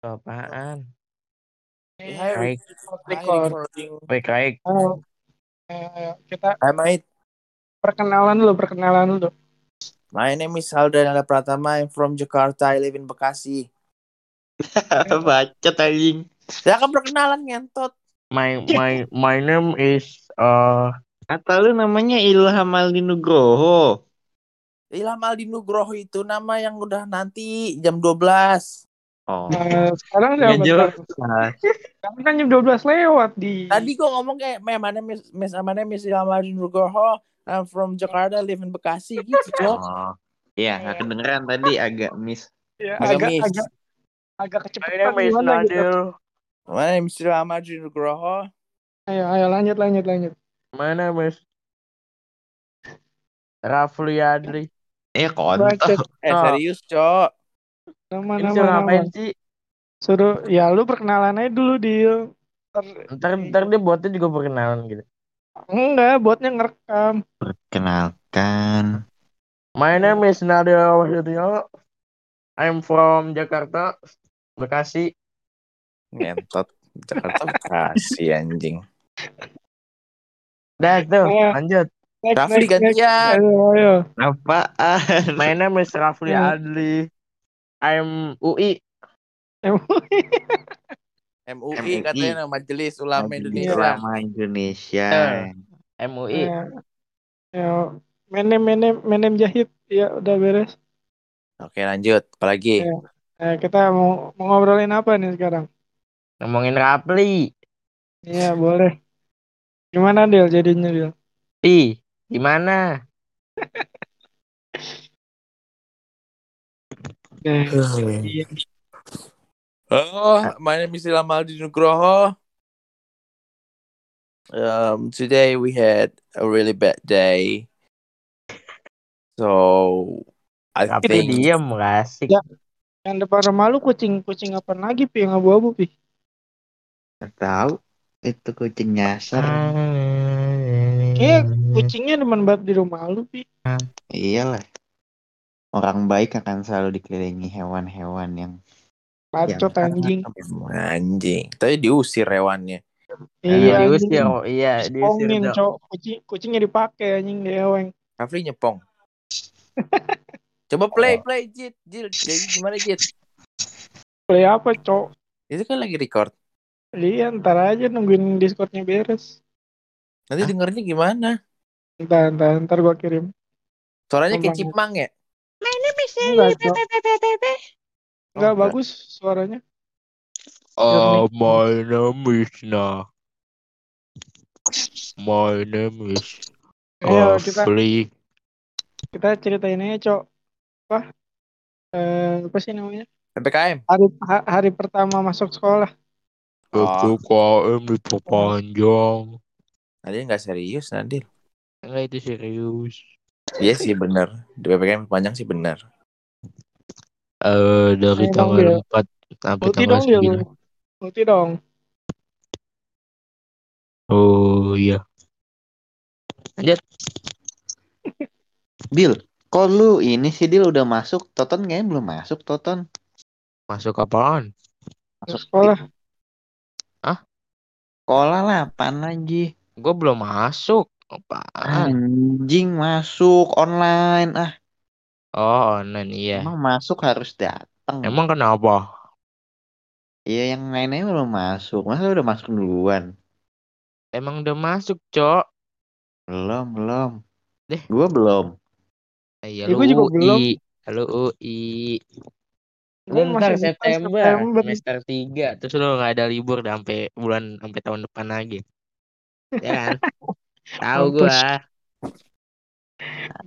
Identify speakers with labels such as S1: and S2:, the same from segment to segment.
S1: Apaan?
S2: Ini
S1: Baik.
S2: Hi,
S3: Hi, recording.
S1: Baik-baik.
S2: Halo. Ayo, ayo. Eh, Kita
S3: Hi, mate.
S2: perkenalan dulu, perkenalan dulu.
S3: My name is Aldanala Pratama. I'm from Jakarta. I live in Bekasi.
S4: Bacot anjing.
S3: Saya akan perkenalan ngentot.
S1: My my my name is uh
S4: Kata lu namanya Ilham Ali Nugroho.
S3: Ilham Aldi Nugroho itu nama yang udah nanti jam 12.
S4: Oh.
S2: Nah, sekarang
S4: Nggak
S2: jam
S4: jelas.
S2: berapa? Sekarang kan jam 12 lewat di.
S3: Tadi gua ngomong kayak, "My my name is, miss, my name is Ilham Aldi Nugroho. I'm from Jakarta. I live in Bekasi." Gitu, Cok.
S4: Oh.
S1: Ya,
S4: Iya, nggak kedengeran tadi agak miss.
S2: Ya, agak,
S3: agak miss.
S2: agak agak
S1: My
S2: kecepatan
S1: name is
S2: gimana gitu.
S1: Nadir.
S3: My name is Ilham Aldi Nugroho.
S2: Ayo, ayo lanjut, lanjut, lanjut.
S1: My name is Rafli Adri.
S4: Eh, kontak.
S2: Bacot.
S3: Eh,
S1: Ah.
S3: serius, Cok.
S2: Nama,
S1: Ini
S2: nama,
S1: suruh
S2: nama.
S1: ngapain sih?
S2: Suruh, ya lu perkenalan aja dulu, Dil. Ter-
S1: Ntar ntar dia buatnya juga perkenalan gitu.
S2: Enggak, buatnya ngerekam.
S4: Perkenalkan.
S1: My name is Nadir Wahyudyo. I'm from Jakarta, Bekasi.
S3: Ngentot. Jakarta Bekasi, anjing.
S1: Dah tuh,
S2: Iya.
S1: lanjut.
S2: Next,
S3: Rafli,
S2: next, next.
S3: gantian.
S2: Ayo, ayo.
S4: Apaan?
S1: My name is Rafli
S2: Iya.
S1: Adli. I'm UI.
S3: MUI
S4: MUI.
S3: katanya nama Majelis Ulama Indonesia.
S4: Ulama Indonesia.
S2: Iya.
S1: MUI.
S2: Ya, ya. Menem, menem, menem jahit. Ya, udah beres.
S3: Oke, lanjut. Apalagi?
S2: Iya. Nah, kita mau, mau ngobrolin apa nih sekarang?
S1: Ngomongin Rafli.
S2: Iya, boleh. Gimana, Dil, jadinya, Dil?
S1: Ih, gimana?
S3: Oh, my name is Lamaldi Nugroho. Um, today we had a really bad day. So, I
S1: Tapi
S3: think
S1: diem gak asik.
S2: Ya. Yang depan rumah lu kucing kucing apa lagi pi yang abu-abu pi?
S4: Nggak Tahu itu kucing nyasar.
S2: Kayak kucingnya demen banget di rumah lu pi.
S4: Iyalah. Orang baik akan selalu dikelilingi hewan-hewan yang
S2: Bacot
S4: Yang-
S2: anjing.
S3: anjing. Tadi diusir hewannya.
S1: Iya,
S2: Iya.
S1: diusir. oh, Iya, diusir.
S2: Dispongin
S1: Dok.
S2: cok. Kucing kucingnya dipakai anjing deweng.
S3: Rafli nyepong. Coba play, play, Jit. Jil, jadi gimana, Jit?
S2: Play apa cok?
S3: Itu kan lagi record.
S2: Iya ntar aja nungguin discordnya beres.
S3: Nanti dengernya gimana?
S2: Ntar ntar ntar gua kirim.
S3: Suaranya
S2: Emang.
S3: kayak cipang ya?
S2: Enggak cok. Enggak bagus suaranya.
S1: Oh, my name is Na. My name is
S2: Ayo kita
S1: Rafli.
S2: kita ceritain aja cok. Apa? Eh, apa sih namanya?
S3: PPKM.
S2: Hari ha- hari pertama masuk sekolah. kan
S3: Oh.
S1: PPKM diperpanjang.
S3: Nadil Nah, nggak serius, Nadil.
S1: Enggak itu serius.
S3: Iya sih benar. Di PPKM panjang sih benar.
S1: Eh, dari
S2: Ayo,
S1: tanggal
S2: Bang,
S1: 4 sampai
S2: Ulti
S1: tanggal
S2: dong dia
S1: 9.
S2: lu. Ulti dong.
S1: Oh, iya.
S4: Dil, kok lu ini sih Dil udah masuk? Toton kayaknya belum masuk, Toton.
S1: Masuk apaan?
S2: Masuk sekolah.
S4: Sekolah lah, apaan lagi?
S1: Gue belum masuk. Oh,
S2: Ah.
S1: Apaan?
S4: Anjing masuk online. Ah,
S1: Oh, online iya.
S4: emang masuk harus datang.
S1: Emang kenapa?
S4: Iya, yang lainnya belum masuk. Masa udah masuk duluan?
S1: Emang udah masuk, Cok?
S4: Belum, belum.
S1: Deh.
S4: Gua belum.
S1: Iya,
S2: Ya,
S1: lu
S2: gua juga
S1: UI.
S2: belum.
S1: Lu UI.
S2: Gua
S1: Lu ntar
S2: masih semester
S1: September,
S2: September.
S1: semester 3 terus lu nggak ada libur dah sampai bulan sampai tahun depan lagi. Ya kan? Tahu
S2: Mampus.
S1: gua.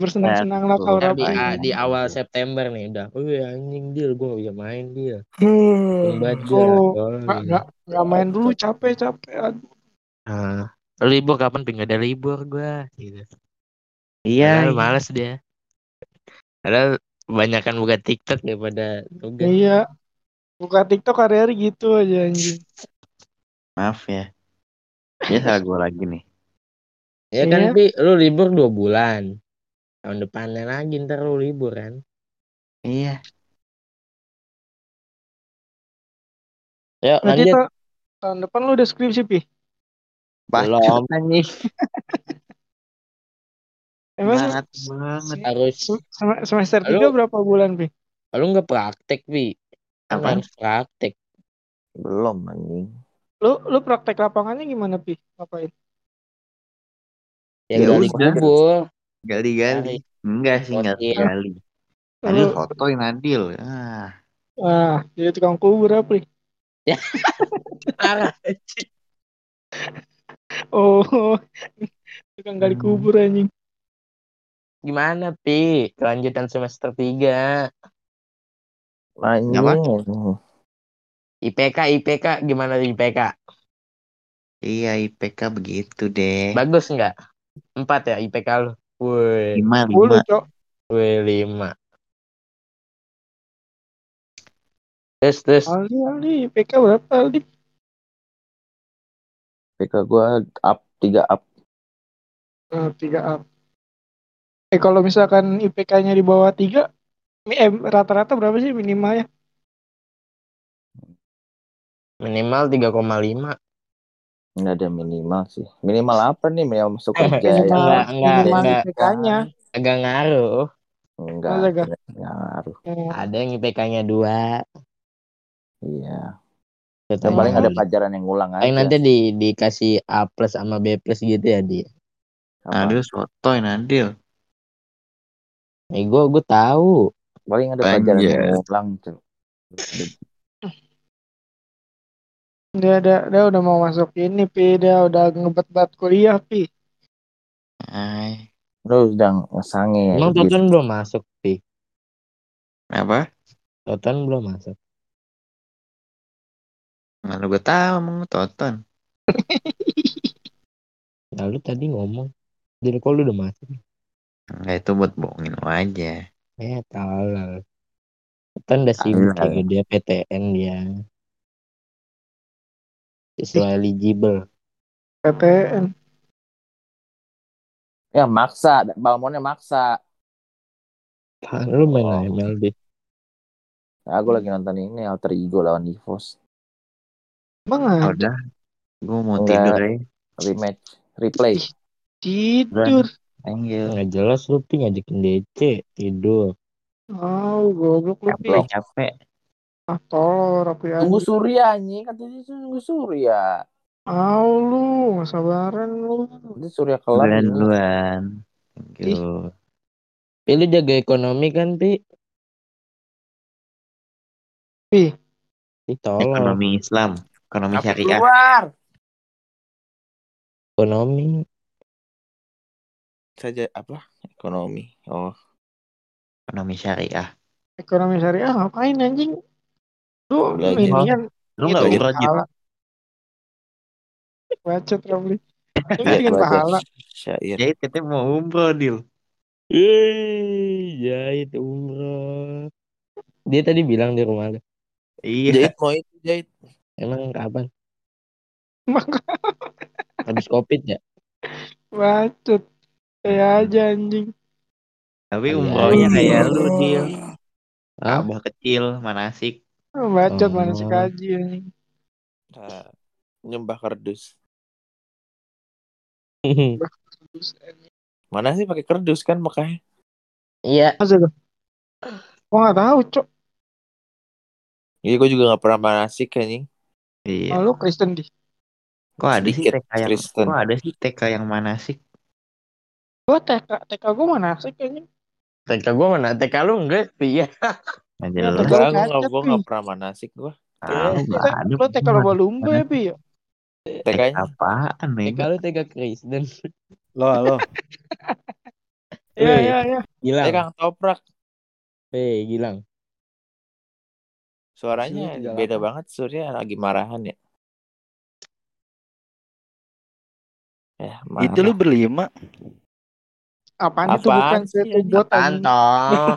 S2: Bersenang-senang lah kau
S1: Ntar
S4: Nah,
S1: di, ah,
S2: Rafli.
S1: di awal September nih udah. Wih anjing deal gua gak bisa main dia. Tumbat gua.
S2: Oh,
S1: Oh,
S2: Nggak, nggak, nggak main dulu capek capek. Aduh,
S1: Nah, lu libur kapan ping Nggak ada libur gua gitu.
S2: Ya,
S4: Iya,
S1: Padahal males dia. Padahal kebanyakan buka TikTok daripada tugas.
S2: Iya. Buka TikTok hari-hari gitu aja anjing.
S4: maaf ya. Ya salah gua lagi nih.
S1: Ya
S2: Iya.
S1: kan, Pi, lu libur dua bulan. Tahun depannya lagi ntar lu Iya. libur kan.
S4: Iya.
S1: Yuk, Ya,
S2: Nanti
S1: lanjut.
S2: tuh, tahun depan lu udah skripsi pi.
S1: Belum.
S4: Bacot anjing.
S2: Emang sem-
S4: Semangat, semangat.
S1: Harus.
S2: sem- semester
S1: Lu-
S2: 3 berapa bulan pi?
S1: Lu nggak praktek, Pi. Lu
S4: Apaan?
S1: harus praktek.
S4: Belum anjing.
S2: Lu lu praktek lapangannya gimana pi? Ngapain?
S1: Yang
S4: Ya
S1: gali
S4: udah.
S1: kubur.
S2: Iya.
S4: Gali-gali. Enggak sih, enggak
S1: Hotel.
S4: gali. Tadi
S2: Lu,
S4: fotoin Nadil. Ah,
S2: ah, jadi tukang kubur apa pi?
S1: Parah.
S2: Oh, tukang gali
S3: Hmm.
S2: kubur anjing.
S1: Gimana, Pi? Kelanjutan semester 3.
S3: Anjing.
S4: Apa?
S1: IPK, IPK. Gimana IPK?
S4: iya IPK begitu deh.
S1: Bagus nggak? Empat ya IPK lu? Woi,
S4: Lima,
S2: Bulu
S4: lima.
S2: cok.
S1: woi lima. Terus, terus.
S2: Aldi, Aldi, PK berapa Aldi?
S3: PK gue up 3 up.
S2: Ah, 3 up. Eh kalau misalkan IPK-nya di bawah 3, eh, rata-rata berapa sih ya? minimalnya?
S1: Minimal 3,5.
S3: Nggak ada minimal sih. Minimal apa nih? Minimal masuk kerja ya?
S2: Minimal,
S1: enggak, enggak,
S2: minimal
S1: enggak.
S2: IPK-nya.
S1: Agak ngaruh.
S3: Enggak.
S2: Masa nggak?
S3: Enggak ngaruh.
S2: Eh,
S1: Ada yang IPK-nya dua.
S3: Iya.
S1: Tetap
S3: Yang paling
S1: aja.
S3: ada pelajaran yang ngulang aja.
S1: Paling nanti di, dikasih A plus sama B plus gitu ya dia.
S3: Apa?
S4: Nadil sotoy Nadil.
S1: Eh, gue gue tahu.
S3: Paling ada pelajaran
S4: Anjir.
S3: yang ngulang. Cuk.
S2: dia, dia, dia udah mau masuk ini, Pi. Dia udah ngebet-bet kuliah, Pi.
S4: Ay,
S3: Lu udah ngesange.
S1: Emang
S3: gitu.
S1: Toton belum masuk, Pi.
S4: apa?
S1: Toton belum masuk.
S4: Mana gue tahu emang lu tonton.
S1: Lalu tadi ngomong, jadi kok lu udah masuk?
S4: Enggak itu buat bohongin lo aja.
S1: Eh, tolol. Kan udah sibuk
S4: Tolol.
S1: juga dia PTN dia. Siswa eligible.
S2: PTN.
S3: Ya maksa. Balmonnya maksa.
S1: Kan lu main
S3: Oh.
S1: AML deh.
S3: Nah, gue lagi nonton ini Alter Ego lawan Divos.
S2: Emang ada
S4: Ah, Udah, gue mau
S3: Enggak.
S4: tidur ya.
S3: Rematch. Replay.
S2: tidur.
S4: Anjir.
S1: Nggak jelas lu pi ngajakin DC tidur.
S2: Oh, goblok lu, Pi.
S3: Goblok.
S4: Capek.
S2: Ah, tolol, rapi
S3: Tunggu
S2: anjing.
S3: Surya anjing. Katanya dia tunggu Surya.
S2: Au lu, nggak sabaran lu.
S3: Ini Surya kelar.
S4: Duluan,
S3: ini.
S4: duluan. Thank
S2: Ih.
S4: you.
S1: Pi lu jaga ekonomi kan pi?
S2: Pi.
S1: Pi tolong
S4: Ekonomi Islam, ekonomi
S3: Apa
S4: syariah.
S3: keluar?
S1: ekonomi.
S3: Saja apa? Ekonomi. Oh.
S4: ekonomi syariah.
S2: Ekonomi syariah ngapain, anjing? Lu,
S3: Belajar.
S2: ini kan
S4: Lu nggak
S2: Bikin
S4: urut gitu.
S2: pahala. Bacot, Ramli. Lu bikin
S3: Iya, gua ada
S2: kan pahala.
S3: Syair.
S4: Jahit katanya mau umroh, Dil.
S1: Yeay, jahit umroh. Dia tadi bilang di rumah lu.
S4: Iya.
S3: Jahit mau itu jahit.
S1: Emang kapan?
S2: Emang
S1: Habis covid ya?
S2: Bacot. Kayak aja anjing.
S4: Tapi
S1: Iya.
S4: umrohnya kayak lu, Dil.
S1: Hah?
S4: Abah kecil, manasik.
S2: Oh, Bacot
S1: Oh.
S2: mana sih kaji anjing.
S3: Nah, nyembah kerdus. Mana sih pakai kerdus kan makanya?
S1: Iya,
S2: Masa lu? Gua nggak tahu, Cok.
S3: Iya, gue juga gak pernah manasik kayaknya.
S2: Oh,
S4: Iya.
S2: lu Kristen di.
S4: Kok ada sih
S3: Sedikit
S4: TK yang
S3: Kristen.
S4: Kok ada sih TK yang manasik?
S2: Gua TK, TK gua mana sih anjing.
S1: TK gua mana? TK lu enggak? Iya.
S4: Nggak
S2: Lu
S3: Gue
S4: jelas.
S2: Enggak.
S3: gak,
S2: cacat,
S3: gue
S2: Pi.
S3: gak pernah manasik gue. Iya,
S4: Tahu
S2: Lu
S4: nggak
S2: te-
S4: ada.
S2: Lu TK lomba lumba ya, Pi? ya?
S3: TK
S4: TK
S3: nya.
S4: apaan,
S1: TK
S4: Nego?
S1: lu TK Kristen.
S3: Lo, lo.
S2: Iya,
S1: Wih.
S2: iya, iya.
S3: Eh,
S1: Gilang.
S3: Kang Toprak.
S1: Hei, Gilang.
S3: Suaranya
S1: Suruh
S3: beda
S1: 38.
S3: banget. Surya lagi marahan ya. Eh, marah.
S5: Itu lu berlima.
S2: Apaan itu bukan
S3: Apaan sih,
S2: itu
S3: anjing?
S2: bot
S1: Apaan
S2: anjing.
S1: toh?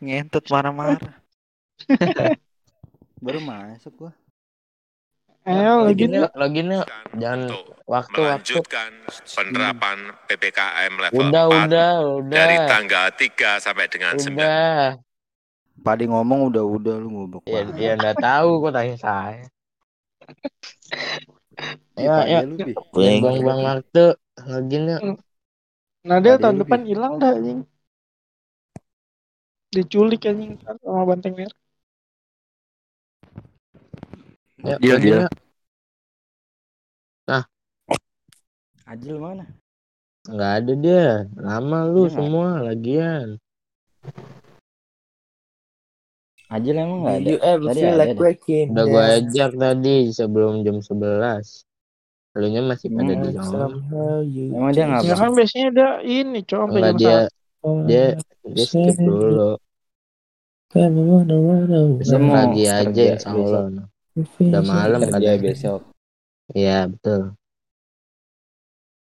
S5: Ngentot marah-marah. Baru masuk gua.
S2: Ayo lagi
S1: Loginnya,
S2: nih.
S1: loginnya jangan
S6: Jangan
S1: waktu waktu.
S6: melanjutkan penerapan PPKM level
S1: Udah,
S6: 4
S1: udah, udah.
S6: dari
S3: Nah.
S6: tanggal 3 sampai dengan 9.
S1: udah.
S5: Padi ngomong udah-udah lu ngobok.
S1: Ya, ya enggak tahu ya, kok tanya saya. Ya, ya.
S5: lu, Bi.
S3: Bling.
S1: Bang Bang Marto login ya. yuk.
S2: Nadel
S5: Nadel
S2: Nah, tahun
S5: lu,
S2: depan hilang dah anjing. Diculik anjing sama Banteng Merah.
S1: Ya, Nah.
S7: Deal,
S1: login
S7: deal.
S1: yuk.
S5: Ajil mana?
S1: Nggak ada dia. Lama lu
S5: Iya, nggak
S1: semua lagian.
S5: Ajil emang nggak
S8: Do
S1: Iya.
S5: ada.
S8: you ever
S5: Tadi
S8: feel
S5: ada
S8: like
S5: dah.
S8: Iya, breaking? ya.
S1: Udah
S2: Iya.
S1: gue
S8: dance?
S1: ajak tadi sebelum jam 11. Lu nya masih pada
S2: Iya,
S1: di
S5: Hmm,
S1: dalam.
S8: Somehow Oh, you
S5: Emang dia
S2: Ya
S5: ngapa?
S2: kan biasanya dia ini cowok sampai
S1: Enggak
S2: jam
S1: dia
S2: 1.
S8: Oh,
S1: dia
S2: Iya,
S1: dia skip dulu.
S8: Kan,
S1: Besok
S5: mau
S1: pagi aja
S5: kerja
S1: insya Allah. Udah
S8: Udah
S1: malam
S5: Kerja
S1: kadang.
S5: besok.
S1: Iya betul.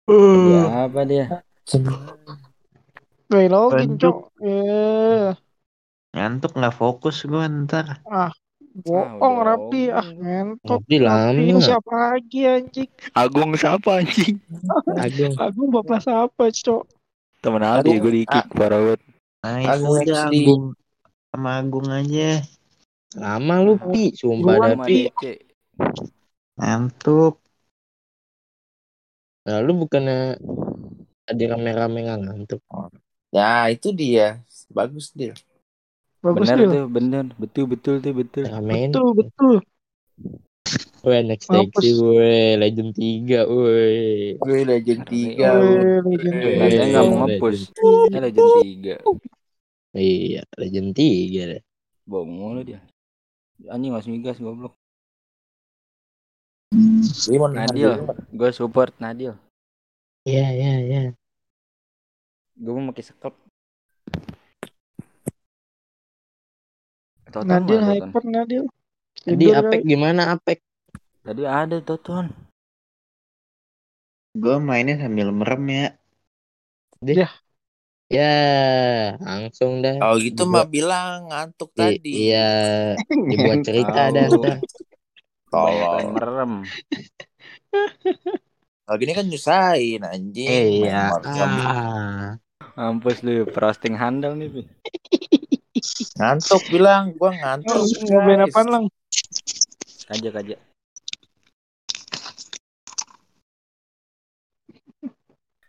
S5: Kerja apa dia?
S2: Weh, login
S4: Lanjut.
S2: cok. Eh,
S4: Ngantuk nggak fokus gue ntar.
S2: bohong
S5: udah
S2: rapi ah
S5: login.
S2: ngentot.
S1: Tapi
S2: Rapi ini
S1: lama.
S2: siapa lagi anjing?
S7: Agung siapa anjing?
S1: Agung.
S2: Agung bapak siapa cok?
S7: Temen Aldi
S4: Agung.
S7: gue di
S5: Ah.
S7: kick parah banget.
S4: Nice.
S1: Agung
S4: udah,
S1: XD.
S4: Agung. Sama Agung aja.
S1: Lama lu pi. Sumpah
S2: Gua
S1: dah
S5: Sama
S1: pi.
S5: Dece.
S4: Ngantuk.
S1: Nah, lu bukannya ada rame-rame nggak ngantuk.
S3: Ya itu dia. Bagus dia.
S2: Bagus
S5: Bener
S2: Dil.
S5: tuh, bener. Betul, betul tuh, betul.
S1: Ramein.
S2: Betul, betul.
S1: Weh, next
S2: Mampus.
S1: taxi, weh. Legend 3, weh.
S3: Gue legend
S1: Iya,
S5: Tiga,
S3: 3.
S5: udah.
S2: Weh, legend
S1: Weh,
S5: Katanya nggak mau
S2: tiga.
S5: nge-push.
S1: Legend
S5: Eh legend 3.
S1: tiga. Iya, Legend 3 deh.
S5: Bohong mulu dia. Anjing ngasih migas goblok.
S3: Limon,
S5: Nadil, gue support Nadil.
S1: Iya, iya, iya.
S5: Gue mau pakai sekep. Toton
S2: Nadil
S5: mana, Toton?
S2: hyper Nadil.
S1: Tadi
S2: Tidur
S1: Apek
S2: kali.
S1: gimana, Apek?
S5: Tadi ada Toton.
S4: Gue mainnya sambil merem ya.
S1: Ya, langsung dah.
S3: Oh gitu
S1: Gua-
S3: mah bilang ngantuk
S1: I-
S3: tadi.
S1: iya, dibuat cerita dah.
S5: Tahu.
S1: dah.
S5: Banyak
S3: Tolong.
S5: merem.
S3: Kalau gini kan nyusahin anjing.
S1: Iya.
S3: Main merem.
S1: Ah.
S5: Mampus lu, frosting handal nih, Pi.
S3: Ngantuk bilang, gua ngantuk.
S2: Oh, Ngobain
S5: gitu
S2: apaan lang?
S5: Kaja, kaja.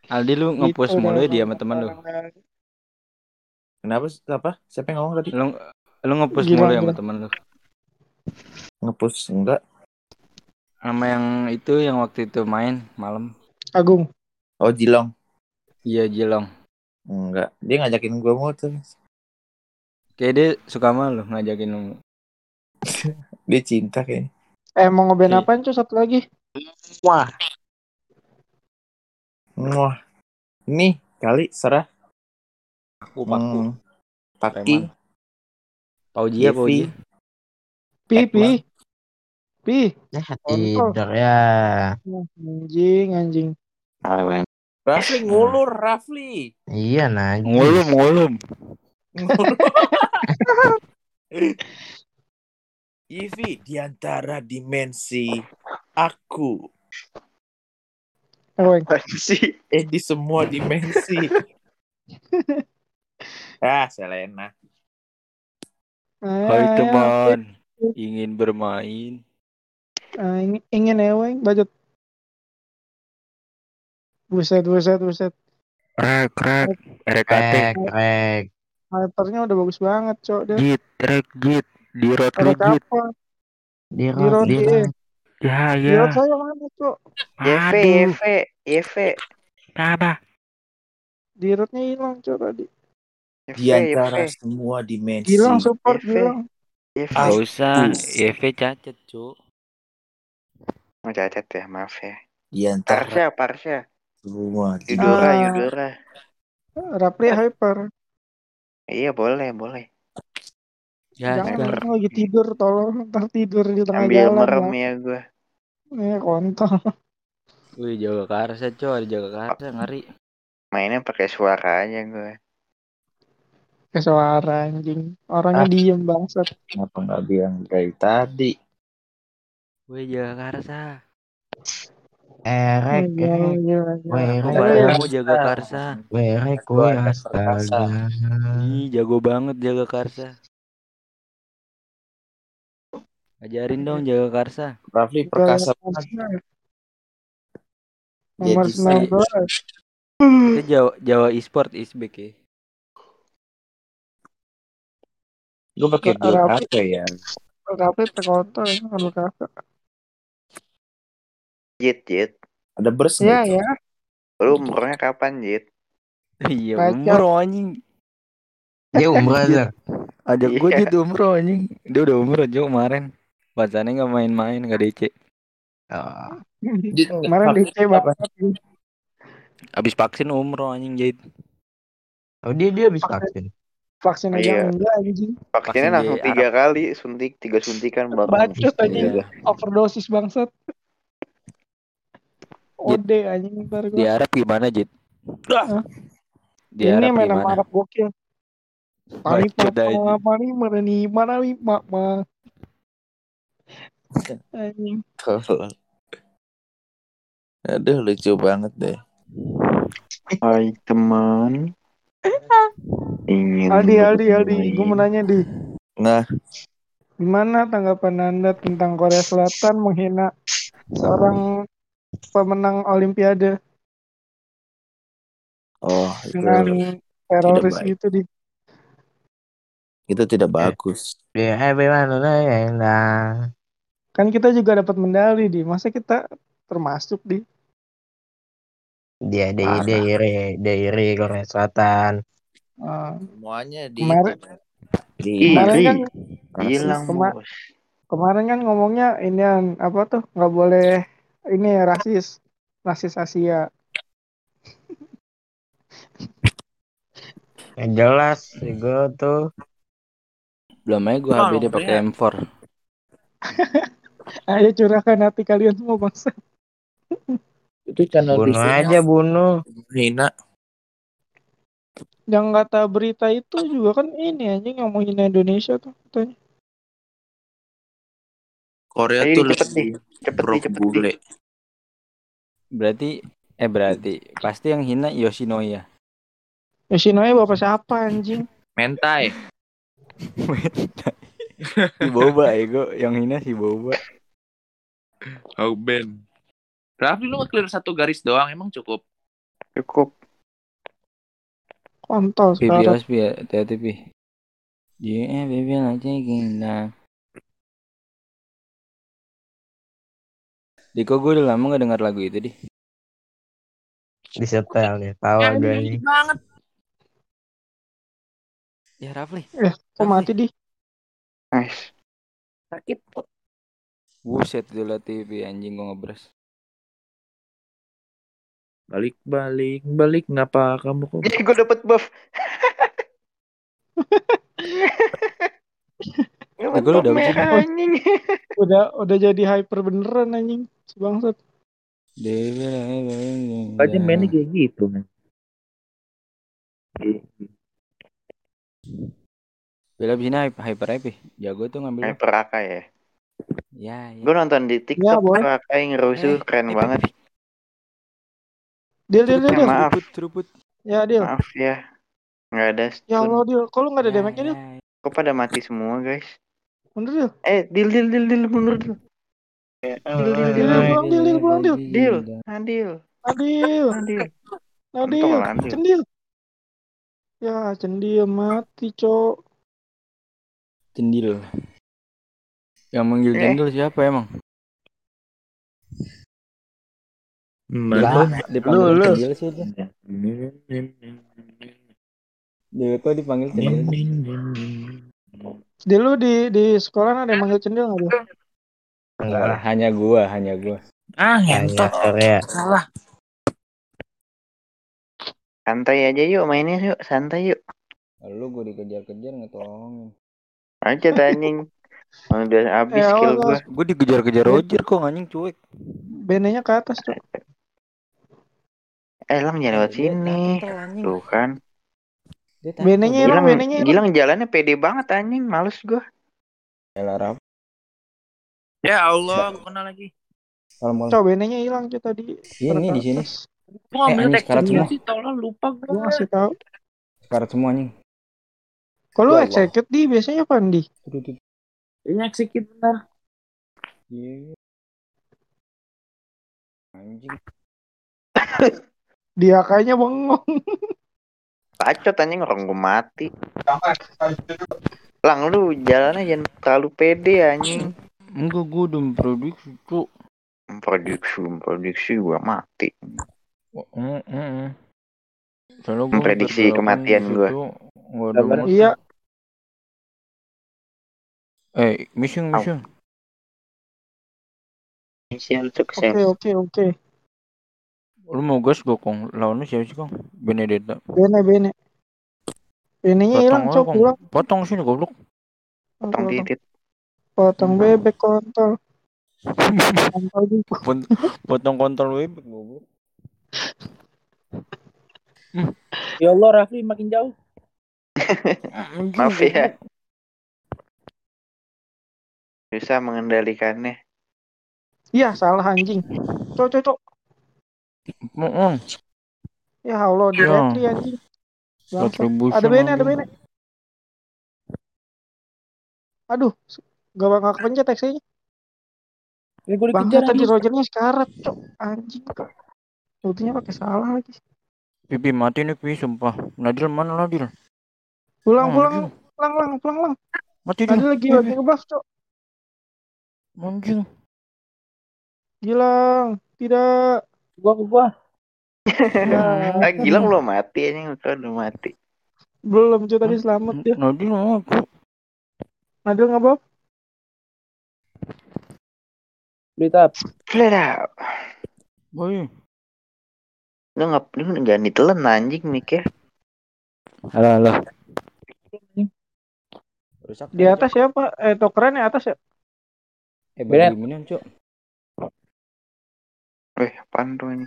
S5: Aldi lu nge-push
S2: Gitu
S5: mulu ya
S2: dah,
S5: dia sama temen lu.
S2: orang-orang.
S3: Kenapa? sih? Apa? Siapa yang ngomong tadi?
S5: Lu lu nge-push
S2: Gila,
S5: mulu ya sama
S2: gila.
S5: temen lu.
S3: Ngepus enggak?
S5: Sama yang itu yang waktu itu main malam.
S2: Agung.
S3: Oh Jilong.
S5: Iya, Jilong.
S3: Enggak. Dia ngajakin gua motor.
S5: Kayak dia suka sama lu ngajakin lu.
S3: Dia cinta kayaknya.
S2: Eh mau ngeband
S5: Iya.
S2: apaan cuy satu lagi?
S1: Wah,
S3: Wah. Nih kali serah.
S5: Aku paku.
S3: Hmm. Paki.
S5: Preman. Pauji ya,
S3: Givi.
S5: Pauji.
S2: Pi
S3: Eh, Bang.
S2: pi. Pi.
S1: ya
S2: Kontol.
S1: tidur ya.
S2: Anjing anjing.
S3: Rafli ngulur Rafli.
S1: Iya, Najis.
S7: Ngulum ngulum.
S3: Givi di antara dimensi aku.
S2: Eweng.
S4: sih?
S3: Eh di semua dimensi. ah Selena.
S7: Hai
S2: Eh,
S7: teman. Ingin bermain.
S2: eh, ingin- ingin eweng budget. Buset buset buset.
S7: Rek rek. RKT.
S1: Rek, rek.
S2: Hypernya udah bagus banget cok dia.
S7: Git rek git. Di road lu
S2: Ada
S7: git.
S2: apa? Di
S1: Dirot,
S2: road
S1: dirot.
S2: dia.
S7: Ya
S5: Iya.
S2: Di road
S7: ya.
S2: saya mana cok?
S9: Yeve,
S7: Aduh.
S9: Yeve, Yeve,
S7: Kenapa?
S2: Di roadnya hilang cok tadi.
S3: Di
S9: Yeve,
S3: antara
S9: Yeve,
S3: semua dimensi.
S2: Gilang support
S9: Efe.
S2: Gilang.
S9: Yeve.
S3: Ah.
S7: Gak usah.
S3: Us.
S7: EV cacat cu.
S9: Mau cacat ya, maaf ya.
S3: Di antara
S9: Parsha, Parsha,
S3: semua dimensi.
S9: Yudora,
S2: Ah.
S9: Yudora.
S2: Rapli hyper.
S9: Iya boleh, boleh.
S5: Ya,
S2: Jangan
S9: hyper.
S2: Gilang lagi tidur tolong ntar tidur di tengah
S9: Ambil
S2: jalan.
S9: merem
S2: Bang.
S9: ya gue.
S2: Eh kontol.
S5: Wih, jaga karsa, Cok. Ada jaga karsa, ngeri.
S9: Mainnya pakai suara aja gue.
S2: Ke Eh, suara anjing. Orangnya
S3: Ah.
S2: diem bangsat.
S3: Kenapa nggak bilang dari tadi?
S5: Wih, jaga karsa.
S1: Eh, rek, rek.
S2: Iya, iya, iya.
S1: Weh,
S5: Aku
S1: rek,
S2: Ayo,
S5: pada
S1: weh.
S5: mau jaga karsa.
S1: Weh, rek,
S3: Gua
S1: weh.
S3: ada perkasa.
S1: Astaga.
S5: Ih, jago banget jaga karsa. Ajarin dong jaga karsa.
S10: Rafli perkasa
S2: Nomor
S10: Jadi
S2: 19.
S5: Itu Jawa Jawa e-sport isbek ya.
S10: Gue pakai
S2: Nggak,
S10: build
S2: Rafli.
S10: apa ya?
S2: LKP terkotor ya, kalau kakak.
S9: Jit, jit.
S10: Ada burst
S2: Ya,
S10: nggak itu?
S2: ya.
S9: Lu umurnya kapan, Jit?
S5: Iya
S2: Kacau.
S5: umroh anjing.
S3: Iya,
S1: Dia umroh Zar.
S5: Ada
S9: Iya.
S5: gue jadi gitu, umroh anjing. Dia udah umroh jauh kemarin. Pasannya nggak main-main nggak DC.
S1: Oh,
S10: Jit, nggak
S2: Kemarin
S10: pakai
S2: DC
S10: apa?
S2: banget.
S5: Abis vaksin umroh anjing jahit.
S1: Oh, dia dia habis
S2: Pakai-
S1: vaksin.
S2: Vaksin aja
S9: Iya.
S2: enggak anjing.
S9: Vaksinnya
S5: Vaksin
S9: langsung
S5: di
S9: tiga kali, suntik tiga suntikan bakal.
S2: Bacot anjing.
S10: Iya.
S2: Overdosis bangsat. Ode anjing ntar
S5: Di
S2: gua.
S5: Arab gimana jit?
S2: Hah?
S5: Di
S2: Ini
S5: Arab
S2: main sama
S5: gimana?
S2: Arab gokil. Mani
S5: Bacot aja.
S2: papa, mani mana nih, mana nih, mak, ma. Anjing.
S10: Tolol. Aduh lucu banget deh.
S9: Hai teman. Ingin
S2: Aldi, Aldi, Aldi,
S9: bermain.
S2: gue mau nanya di
S10: Nah,
S2: gimana tanggapan anda tentang Korea Selatan menghina seorang pemenang Olimpiade
S10: oh itu
S2: dengan teroris
S10: baik.
S2: gitu di
S10: itu tidak bagus.
S1: Dia everyone nah.
S2: kan kita juga dapat medali di masa kita termasuk di
S1: Dia dari dari dari Korea Selatan.
S2: Ah,
S10: Semuanya di
S2: kemarin
S10: di
S5: Iya,
S2: kemarin
S9: Iri.
S2: kan
S9: Hilang,
S2: Kema-
S9: bos.
S2: kemarin kan ngomongnya ini apa tuh nggak boleh ini ya, rasis rasis Asia
S1: Yang jelas gue tuh
S5: Belum aja gue
S3: Tolong,
S5: HB dia pakai
S3: Brian.
S5: M4.
S2: ayo Ah, iya, curahkan hati kalian semua bangsa
S10: itu channel
S1: bunuh aja bunuh.
S10: Hina.
S2: yang kata berita itu juga kan ini anjing yang mau hina Indonesia tuh katanya.
S10: Korea
S9: Ayo,
S10: tuh
S9: Eh, cepet
S10: lebih
S9: Cepet
S10: pro
S9: nih, cepet nih.
S10: bule.
S5: Berarti eh berarti pasti yang hina Yoshinoya.
S2: Yoshinoya Ya, bapak siapa anjing
S3: Mentai.
S5: si boba ego yang hina si boba
S3: Oh, Ben. Rafli lu nge-clear satu garis doang, emang cukup?
S9: Cukup. Iya,
S2: kontol
S5: pipi
S2: sekarang
S5: ospi ya hati-hati pi eh, yeah baby aja gina Diko gue udah lama gak dengar lagu itu di
S1: Disetel nih. Tahu gue ini.
S3: banget.
S5: ya Rafli
S2: kok mati di
S9: Nice.
S3: Sakit.
S5: buset dulu TV anjing gue ngebres
S3: Balik, balik, balik. Ngapa kamu kok?
S9: Ih, gue dapet buff.
S5: Eh, gua udah
S9: Ngebentuk
S5: dapet
S9: merah anjing.
S2: udah udah jadi hyper beneran anjing si bangsat
S5: Dewi lah, eh, baby, gina.
S3: Aja mainnya kayak gitu, men.
S5: Bela bina hyper hyper apa? Jago tuh ngambil.
S9: Kayak peraka ya.
S5: Ya, ya.
S9: Gue nonton di
S2: Ya,
S9: TikTok
S2: boleh.
S9: peraka yang rusuh
S5: eh,
S9: keren banget.
S2: deal deal deal,
S9: Ya,
S2: deal.
S9: maaf.
S5: Seruput, seruput.
S2: ya deal
S9: Maaf ya. Nggak ada
S2: ya
S9: stun.
S2: Allah deal kok lu nggak ada
S5: Ya,
S2: damage nya
S9: Iya,
S2: deal
S5: ya.
S9: Kok pada mati semua guys?
S2: mundur deal
S9: Eh, deal deal deal deal mundur deal. Deal deal
S5: eh,
S2: deal
S5: ya,
S9: deal.
S2: deal pulang deal deal pulang deal
S9: Deal.
S5: iya.
S9: nah, Adil.
S2: adil
S9: Adil.
S2: adil
S9: Untung adil.
S2: cendil ya cendil mati cok
S5: Cendil. Yang manggil
S9: Eh.
S5: cendil siapa emang?
S1: Lah,
S5: Dipanggil
S1: lu- lu.
S5: cendil sih dia. Dia kok dipanggil cendil. sih?
S2: di lu di di sekolah ada yang manggil cendil nggak deal
S1: Enggak lah.
S5: Hanya gua, hanya gua.
S3: Ah,
S1: Hanya
S3: ngentot.
S1: Korea.
S3: Salah.
S9: Santai aja yuk mainnya yuk. Santai yuk.
S5: Lalu gua dikejar-kejar nggak tolongin.
S9: Aja tuh, anjing. Udah habis
S2: Eh,
S9: skill
S2: awas.
S9: gue.
S5: Gua dikejar-kejar Roger kok anjing cuek.
S2: benenya ke atas cok
S9: Eh, Lam jangan lewat
S5: dia
S9: sini.
S5: tackle, anjing.
S9: Tuh kan.
S5: Dia tackle.
S2: benenya
S5: Gua-
S2: hilang
S9: Gilang,
S2: benenya hilang
S9: Gilang jalannya pede banget anjing. Males gue.
S5: Elah, Raf.
S3: Ya Allah, gue kenal lagi.
S5: Kalau mau-
S2: cok benenya hilang cok tadi
S5: Ini,
S2: Taruh
S5: di
S2: ke
S5: Oh. sini.
S2: atas.
S3: Gue ngambil
S5: anjing,
S3: tek
S5: Eh, sekarat
S3: cendil
S5: semua.
S3: sih, tolong lupa gue.
S2: gua ngasih tahu
S5: Sekarat semua anjing.
S2: kalau
S5: Ya Allah.
S2: execute di biasanya pandi
S5: Tuh, tuh, tuh.
S3: Ini execute bener.
S11: Iya. Anjing.
S2: Dia kayaknya bengong.
S9: Bacot anjing orang gue mati. Lang lu jalannya jangan terlalu pede anjing.
S11: Enggak gue udah memproduksi cuk.
S9: Memproduksi, memproduksi gue mati.
S11: Mm, mm, mm. Soalnya gua
S9: Memprediksi
S11: hampir berapa
S9: kematian
S11: minggu
S9: gua.
S11: itu nggak ada
S5: Kabar-
S11: motor.
S2: Iya,
S11: Eh, missing, missing.
S9: Misian sukses.
S2: oke oke oke.
S11: Lu mau gas gak, Kong? Lawan lu siapa sih, Kong? Benedetta.
S2: Bene bene. Benenya hilang,
S11: Potong lu,
S2: cok
S11: Kong.
S2: pulang.
S11: Potong sini, goblok.
S9: Potong titit.
S2: Potong
S5: Hmm.
S2: bebek kontol. Kontol di
S11: Pon- Potong kontrol web, goblok.
S3: Ya Allah Rafli makin jauh.
S11: Anjing,
S9: Maaf
S11: goblok.
S9: ya. Susah mengendalikannya.
S2: Iya, salah anjing. Cok cok cok.
S11: Mm-mm.
S2: Ya Allah, di
S11: Ya.
S2: Repli anjing. Bangsat.
S11: Retribution
S2: Ada bene, ada
S11: anjing.
S2: bene. Aduh, gak bakal kepencet taxinya.
S3: Ini gue Ya, dikejar
S2: Bangsat tadi
S3: anjing.
S2: Rogernya sekarat, cok. Anjing. Ultinya pakai salah lagi.
S11: Pipi mati nih, Pi, sumpah. Nadil mana, Nadil?
S2: Pulang,
S3: Nah,
S2: pulang,
S11: Anjing.
S2: pulang, pulang, pulang, pulang.
S11: Mati dia.
S2: Tadi lagi
S11: Pi,
S2: lagi ngebuff, cok.
S11: Pi. Anjing.
S2: Gilang, tidak.
S3: Gua ke gua. Oh,
S2: Ya,
S9: Ah,
S3: iya.
S9: Gilang belum mati anjing, kau udah mati.
S2: belum cok tadi selamat
S3: Hmm.
S2: ya.
S11: Nadil mau aku.
S2: Nadil ngebuff.
S3: Split up.
S9: Flare up.
S11: Boy.
S9: Lu ngap lu jangan ditelan anjing mikir.
S5: Halo, halo.
S11: Rusak
S2: Di atas siapa? Eh, tokeran ya atas ya.
S11: Eh,
S3: Benet.
S11: bagi gimana, Cuk?
S9: Weh, apaan tuh ini?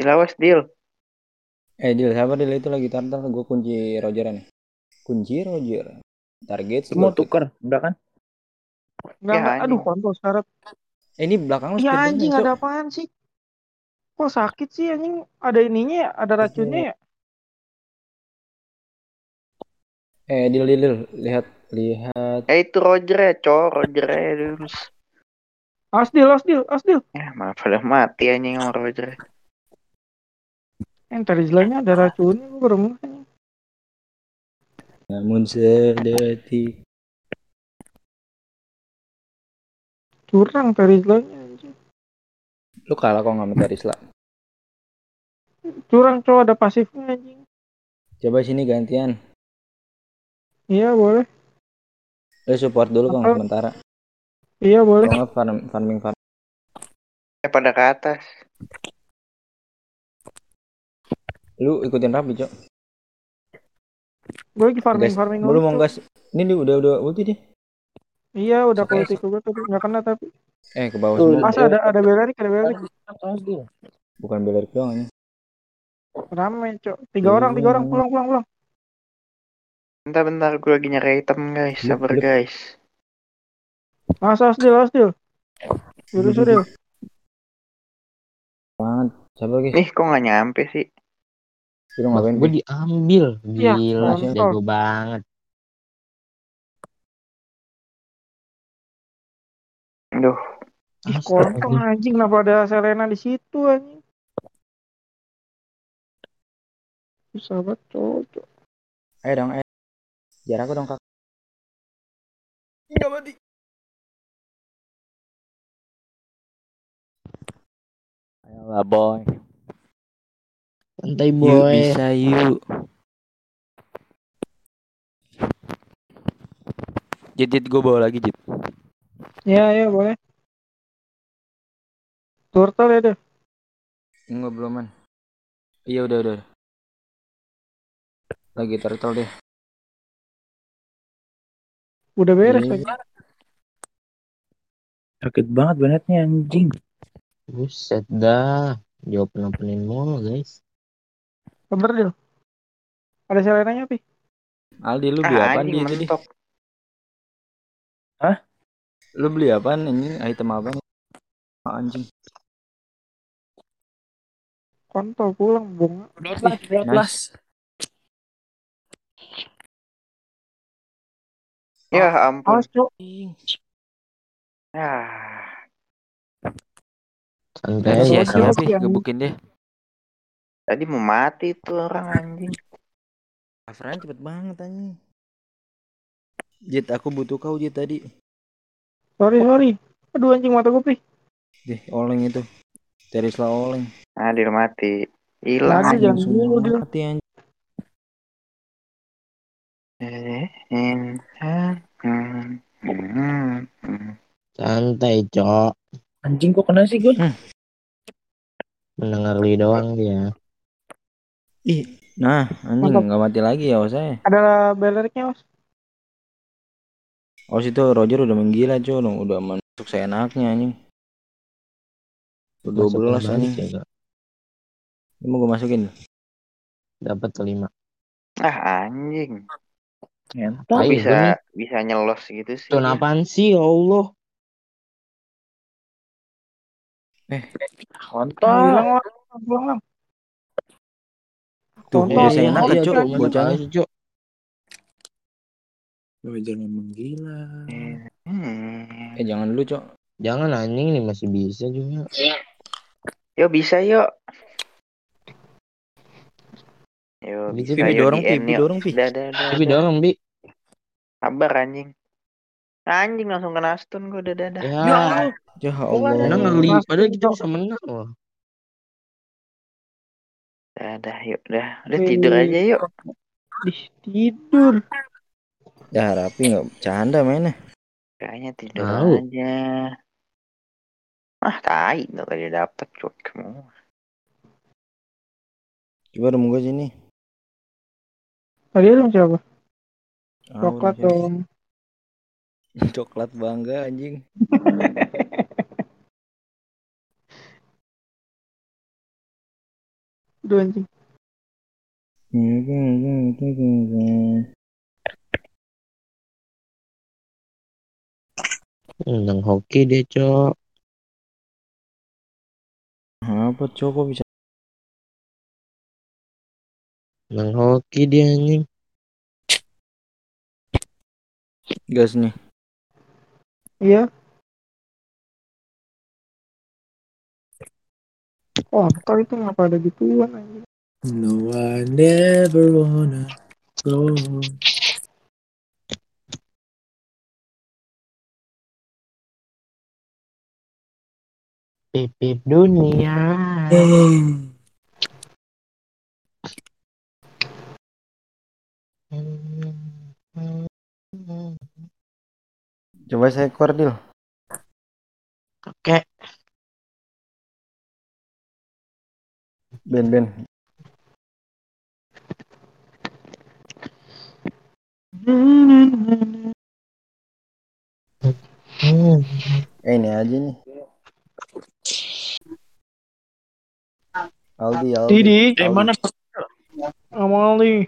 S9: Dilawas deal.
S5: Eh, Dil, siapa Dil itu lagi tartar gue kunci Rogeran. Kunci Roger. Target
S3: Semua
S5: tuh.
S3: tuker, udah kan?
S2: Enggak,
S9: Ya,
S2: enggak. Aduh,
S9: anjing.
S2: kontol sekarat.
S5: Eh, ini belakang lu
S2: Ya
S5: speed banget,
S2: anjing,
S5: Cuk.
S2: ada apaan sih? Kok sakit sih anjing? Ada ininya ya? Ada racunnya ya?
S5: Eh, Dil, Dil, Dil, lihat lihat
S9: Eh itu Roger ya, cowok Roger ya terus.
S2: Asdil, asdil, asdil.
S9: Ya malah pada mati anjing sama Roger.
S2: Entar istilahnya ada racunnya gue baru ngeh.
S5: namun sedetik.
S2: curang perislonya
S5: Lu kalah kok nggak sama Terisla.
S2: curang cowok ada pasifnya anjing
S5: Coba sini gantian.
S2: iya boleh
S5: Lu support dulu kong
S2: Apa?
S5: sementara.
S2: iya boleh
S5: Kalau nggak farm, farming farm.
S9: Eh pada ke atas.
S5: Lu ikutin Rapi, Cok.
S2: gue lagi farming
S5: Gas.
S2: farming
S5: Lu
S2: dulu,
S5: mau
S2: Cok.
S5: gas. Ini dia udah udah ulti deh.
S2: iya udah kalau tiku gue tapi nggak kena tapi
S5: Eh, ke bawah
S3: Tuh,
S5: semua.
S2: masa ada ada belarik ada belarik
S3: Atas dia.
S5: Bukan beler doang ya.
S2: rame cok tiga orang tiga orang pulang pulang pulang
S9: Bentar bentar gue lagi nyari item guys,
S5: Blip,
S9: sabar
S5: blip.
S9: guys.
S2: masa asdil asdil Yaudah
S5: Duduk,
S2: sudah
S5: Banget. Sabar, guys.
S9: Nih kok nggak nyampe sih?
S5: Lu ngapain?
S1: gue
S5: Pi?
S1: diambil
S2: Ya,
S1: gila
S2: kontol.
S1: jago banget
S9: Aduh,
S2: ih
S1: Astaga.
S2: kontol anjing kenapa ada Selena di situ anjing susah banget cok cok
S5: Ayo dong, ayo. Jarak aku dong, Kak.
S11: Enggak mati. Ayolah, boy.
S1: santai
S11: You
S1: boy
S11: bisa you. Jit, jit, gue bawa lagi, Jit.
S2: ya ya boleh turtle ya deh
S5: Enggak belum, man. Iya, udah, udah. udah. Lagi turtle deh.
S2: udah beres
S5: Iya.
S2: lagi
S3: Sakit banget benetnya anjing.
S1: buset dah jawab penampanin mulu guys
S2: kabar dil ada Selenanya pi
S5: Aldi, lu beli
S9: ah
S5: apaan di
S9: anjing
S5: itu, Di?
S9: mentok.
S5: Lu beli apaan ini? Item apa nih? Ah, anjing.
S2: kontol pulang bunga
S3: Dot lah, dot
S5: nice.
S3: lah.
S5: Oh.
S9: Ya ampun.
S2: Awas, Cok.
S9: Ah.
S4: Santai
S3: Iya,
S4: aja.
S11: Udah ya,
S2: Siapa
S11: siapa
S2: yang-
S11: gebukin dia.
S9: Tadi mau mati tuh orang anjing.
S5: Afran cepet banget anjing. Jit, aku butuh kau Jit tadi.
S2: Sorry, sorry. Aduh anjing mata gue, Pri.
S5: Deh, oleng itu. Terisla oleng.
S9: Adil Ah, mati.
S2: Ada
S9: Hilang.
S2: jangan
S5: Langsung
S2: dulu, Dil.
S5: mati anjing.
S9: Eh, eh, eh, hmm, hmm, hmm.
S1: Santai, Cok.
S3: Anjing kok kena sih gue?
S1: Mendengar lu doang dia.
S5: Nah, anjing
S2: Mantap.
S5: nggak mati lagi ya saya.
S2: Ada beleriknya, Mas.
S5: Os itu Roger udah menggila cuy, udah, udah masuk seenaknya anjing. Udah
S1: Masuk
S5: belas
S1: balik
S5: anjing.
S1: ya, Cok.
S5: Ini mau gue masukin.
S1: Dapat tuh lima.
S9: Ah anjing. Kok
S1: Ayo,
S9: bisa
S1: gini.
S9: bisa nyelos gitu sih.
S1: Tuh,
S9: dia?
S1: apaan sih, ya Allah?
S2: Nah,
S3: Kontol.
S2: hilang, Mas. Pulang, Lam.
S5: Tuh,
S2: Kontol.
S5: udah
S1: Eh,
S5: seenak
S1: iya,
S5: Cok,
S1: Cok. Masuk
S5: bocahnya.
S1: aja, Cok.
S3: Gue jangan menggila.
S9: Hmm.
S5: Eh, jangan dulu Cok.
S1: Jangan anjing nih masih bisa juga.
S9: Yo bisa yuk. Yo
S1: Ini
S9: bisa
S1: Pipi
S9: yo
S5: dorong,
S9: di end
S5: Pipi
S9: yuk.
S5: dorong, Pi.
S9: Dah dah dah.
S1: Tapi
S9: dah.
S1: dorong, Bi.
S9: Sabar anjing. Anjing langsung kena stun gua dah dah dah.
S1: Ya,
S5: Ya
S1: menang
S5: Allah.
S1: kali.
S2: Mas,
S1: Padahal kita
S2: Cok.
S1: bisa menang loh.
S9: Dah dah yuk dah. Udah
S2: Wih.
S9: tidur aja yuk.
S2: Dih, tidur.
S5: Ya, Rapi nggak bercanda mainnya.
S9: Kayaknya tidur
S1: Mau.
S9: aja. Ah tai nggak tadi dapet cuek kamu.
S5: Coba dong gue sini.
S2: Tadi lu siapa?
S5: Ah,
S2: Coklat
S5: udah, sini.
S2: dong.
S5: Coklat bangga anjing.
S2: Aduh anjing.
S1: Menang hoki deh, Cok.
S5: Apa Cok kok bisa?
S1: Menang hoki dia anjing.
S5: Gas nih.
S2: Iya. Oh, kontol itu ngapa ada gituan anjing.
S3: No, I never wanna go.
S1: Pipip dunia.
S5: Coba saya keluar Dil.
S1: Oke,
S5: Ben Ben. Eh ini aja nih. Aldi Aldi.
S2: Didi,
S7: Eh,
S5: Aldi.
S7: mana?
S2: nggak mau nih.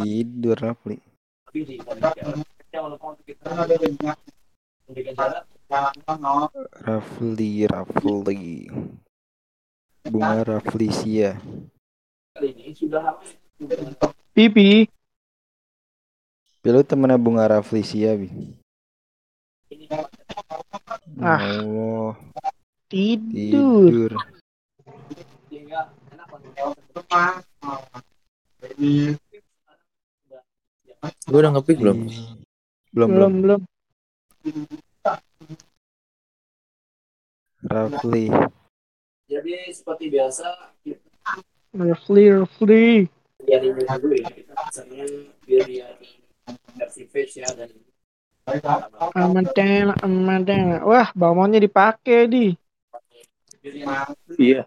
S5: Tidur Rapli. Rafli Rafli. Bunga Raflisia.
S2: Pipi,
S5: Pilu Ya temennya Bunga Raflisia bi. Ya
S2: Ah.
S5: Allah.
S2: tidur.
S5: Tidur.
S3: Gue udah ngepick belum?
S5: Belum belum.
S2: Belum, belum.
S5: Rafli.
S2: Iya, Clear, free. Amadena, Amadena. Wah, balmonnya dipakai di.
S7: Iya.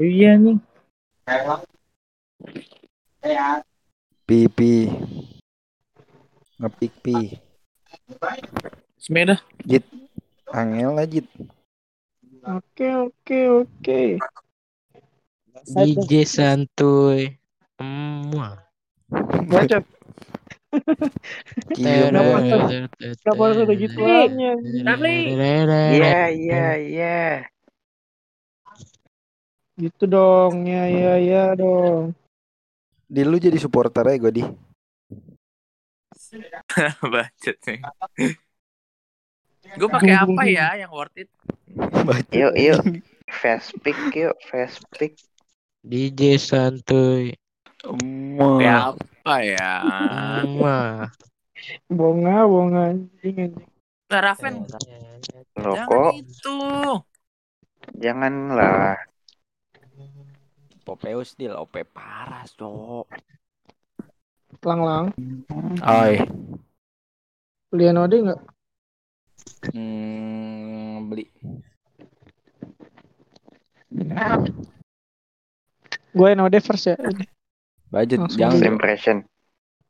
S3: Iya nih.
S5: Pipi. Ngepik pi.
S7: Semeda.
S5: Angel aja.
S2: Oke, oke, oke.
S1: DJ santuy. Semua.
S2: Bocot,
S5: Cium
S2: Kenapa? gak
S5: dong.
S2: gitu harus
S1: gitu,
S2: ada gituannya.
S1: Eh.
S5: Iya.
S1: Rafli.
S9: Iya iya iya.
S2: Gitu dong, ya ya ya dong.
S11: Di lu jadi supporter ya gue di.
S3: Bacot nih. Gue pakai apa ya yang worth it?
S4: Yuk, yuk. Fast pick yuk, fast pick.
S1: DJ santuy.
S3: Kayak apa ya?
S1: Ah, Mama.
S2: Bonga, bonga anjing anjing.
S3: Nah, Raven, iya. jangan
S4: Rokok,
S3: itu.
S4: janganlah.
S5: Popeus deal OP parah, cok.
S2: Lang lang.
S11: Oi.
S2: Lianode enggak?
S5: Hmm, beli.
S2: Gue Enode first ya.
S5: Budget
S2: Langsung
S5: jangan.
S2: beli.
S5: Cok.
S4: Impression.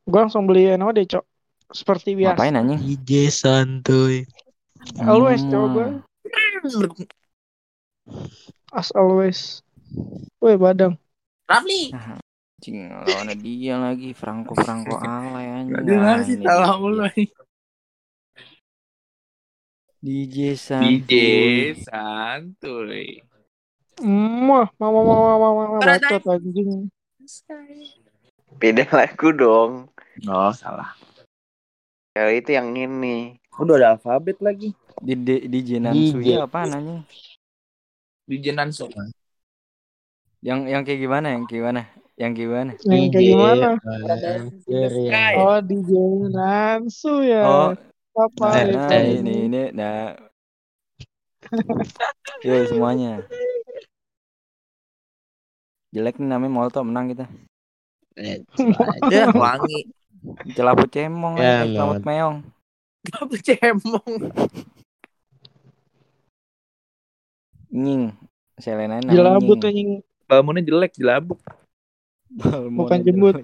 S2: Gue langsung beli Enode, Cok. Seperti biasa.
S11: Ngapain anjing?
S1: DJ santuy.
S2: Always,
S5: Hmm.
S2: cowok gue. As always. Woi, Badang.
S3: Rafli.
S5: Cing, lawannya dia lagi Franco Franco alay anjing.
S3: Aduh,
S5: Wah,
S3: sih
S5: ini
S3: salah
S5: dia.
S3: mulu nih.
S5: DJ
S3: DJ
S5: santuy.
S3: santuy.
S2: Muah, mama mama mama mama
S3: Ada-
S2: bacot anjing.
S4: Beda lagu dong.
S3: Oh, salah.
S4: Kalau itu yang ini.
S12: Udah ada alfabet lagi.
S5: Di di- DJ Nansuya apaan anjing?
S3: DJ Nanso.
S5: Yang yang kayak gimana? Yang kayak gimana? Yang kayak gimana?
S2: Yang
S1: Iya,
S2: kayak Nah, gimana?
S1: Mansuria.
S2: Oh, DJ Nansu ya.
S5: Oh,
S2: Apa
S5: nah,
S1: Parah,
S5: nah,
S1: parah.
S5: ini ini nah. Yo semuanya. Jelek nih namanya Molto menang kita.
S1: Eh,
S3: Ya, wangi.
S5: Celaput cemong
S1: Ya,
S5: ya, eh, celaput meong.
S3: Apa cemong?
S5: Nying. Selena namanya
S2: Jelabut eh.
S5: nying.
S2: anjing.
S3: Bangunnya jelek, jelabuk.
S5: Balmon
S2: Bukan
S5: aja
S2: jembut.
S5: lu.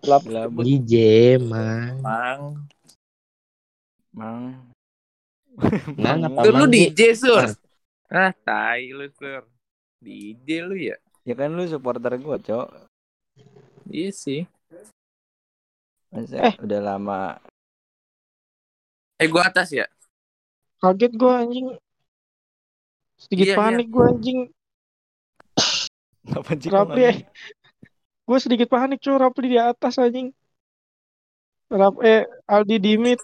S3: Jelabuk.
S5: gitu. Jelabut.
S1: DJ mang.
S3: Mang.
S5: Mang.
S1: Nggak, nggak
S3: Sur, lu
S1: Mang, Ji.
S3: DJ, Sur.
S1: Mang.
S3: Ah, tai lu, Sur. DJ lu ya?
S5: Ya kan lu supporter gua, Cok.
S3: Iya sih.
S5: Masa
S2: Eh.
S5: udah lama.
S3: Eh, gua atas ya?
S2: Kaget gue anjing.
S3: Iya,
S2: Sedikit
S3: iya.
S2: panik gue anjing.
S5: Apa sih gua
S2: Rapli.
S5: nggak-
S2: Gue sedikit panik cuy. Rapli di atas anjing. Rap eh Aldi Dimit.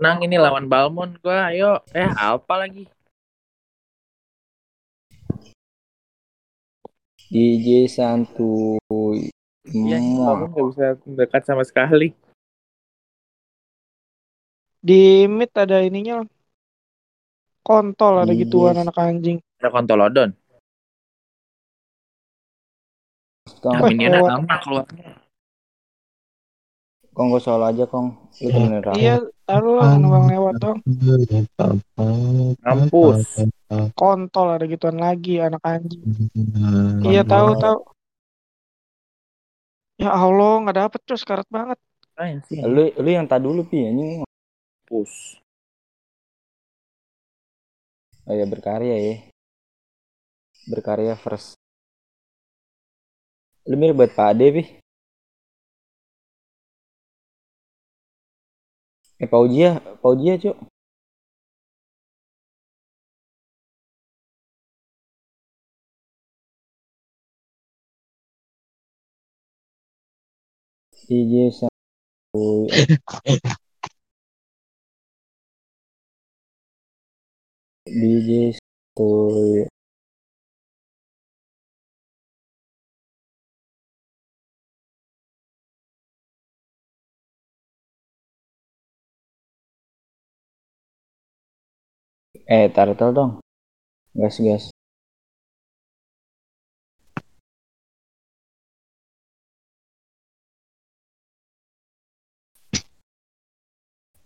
S3: Nang ini lawan Balmon gua, ayo. Eh, apa lagi?
S5: DJ Santuy.
S3: Iya,
S5: Muah.
S3: Balmon nggak bisa dekat sama sekali.
S2: Dimit ada ininya. Lang. Kontol ada
S5: Yes.
S2: gituan anak anjing.
S3: Ada kontolodon.
S5: Kong,
S3: Nah,
S2: Wah,
S3: minionnya
S2: lewat.
S3: lama keluarnya.
S5: Kong gua soal aja, Kong. Lu temenin Rafa.
S2: Iya, taruh lah numpang lewat dong.
S3: Kampus.
S2: Kontol ada gituan lagi anak anjing. Iya
S5: Kontol.
S2: tahu tahu. Ya Allah nggak dapet cuy sekarat banget.
S3: Apaan sih?
S5: Lu lu yang tadi dulu pi anjing.
S3: Kampus.
S5: Oh ya berkarya ya. Berkarya first. Lu mirip buat Pak Ade, Pi. Eh, Pak Ujia, Pak Ujia, Cuk. DJ Santuy. Eh. DJ Santuy. Eh, tartel dong. Gas, gas.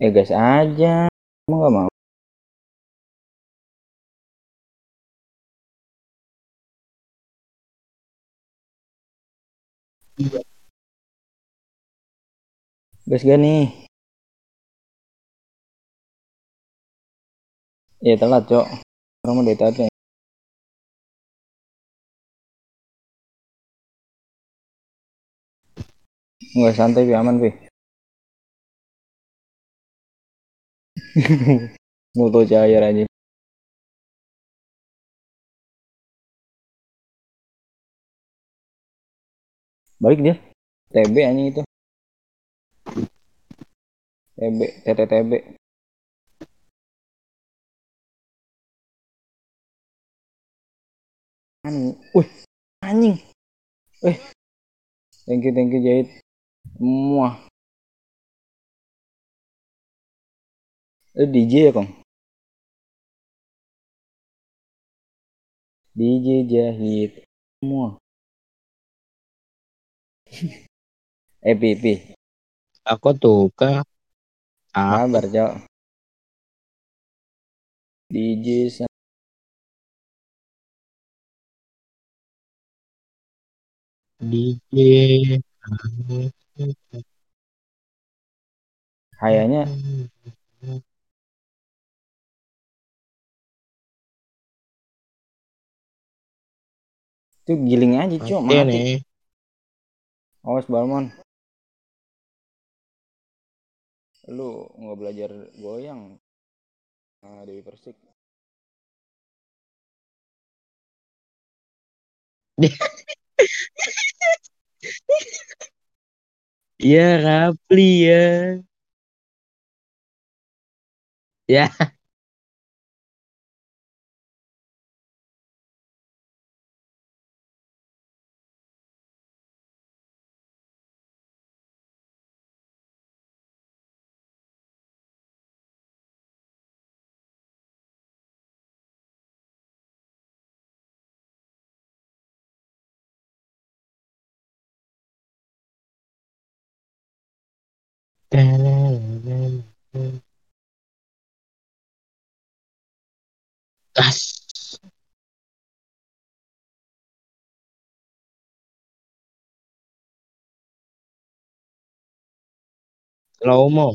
S5: Eh, gas aja. Emang gak mau? Gas gak nih? Ya telat, Cok. Orang mau ya? dari tadi. Enggak santai, Pi. Aman, Pi. Multo cair aja. Balik dia. TB anjing itu. TB, TTTB. Anu, wih, anjing. Wih. Thank you, thank you Jahit. Muah. Lu DJ Eh, ya, Kong? DJ Jahit. Muah. eh, Pi, Pi.
S1: Aku tuh ke ah
S5: Kabar, Cok. DJ Sa-
S1: DJ
S5: kayaknya itu giling aja, Cok.
S1: Oke
S5: Mati.
S1: nih
S5: Awas Balmon. Lu nggak belajar goyang nah, Dewi Persik.
S1: Ya Rapli ya Ya Kas Slow mo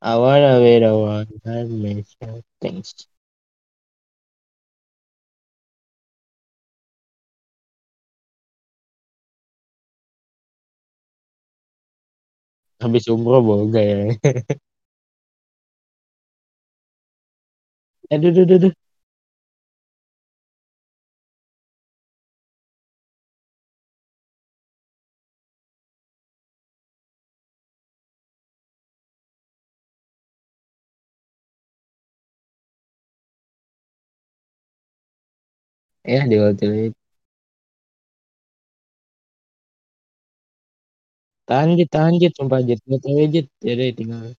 S1: I wanna be the one that makes you things Habis umroh boga ya Aduh duh duh duh Ya di hotel itu Tahan jit tahan jit sumpah jit Nggak tahu ya, jit Yaudah tinggal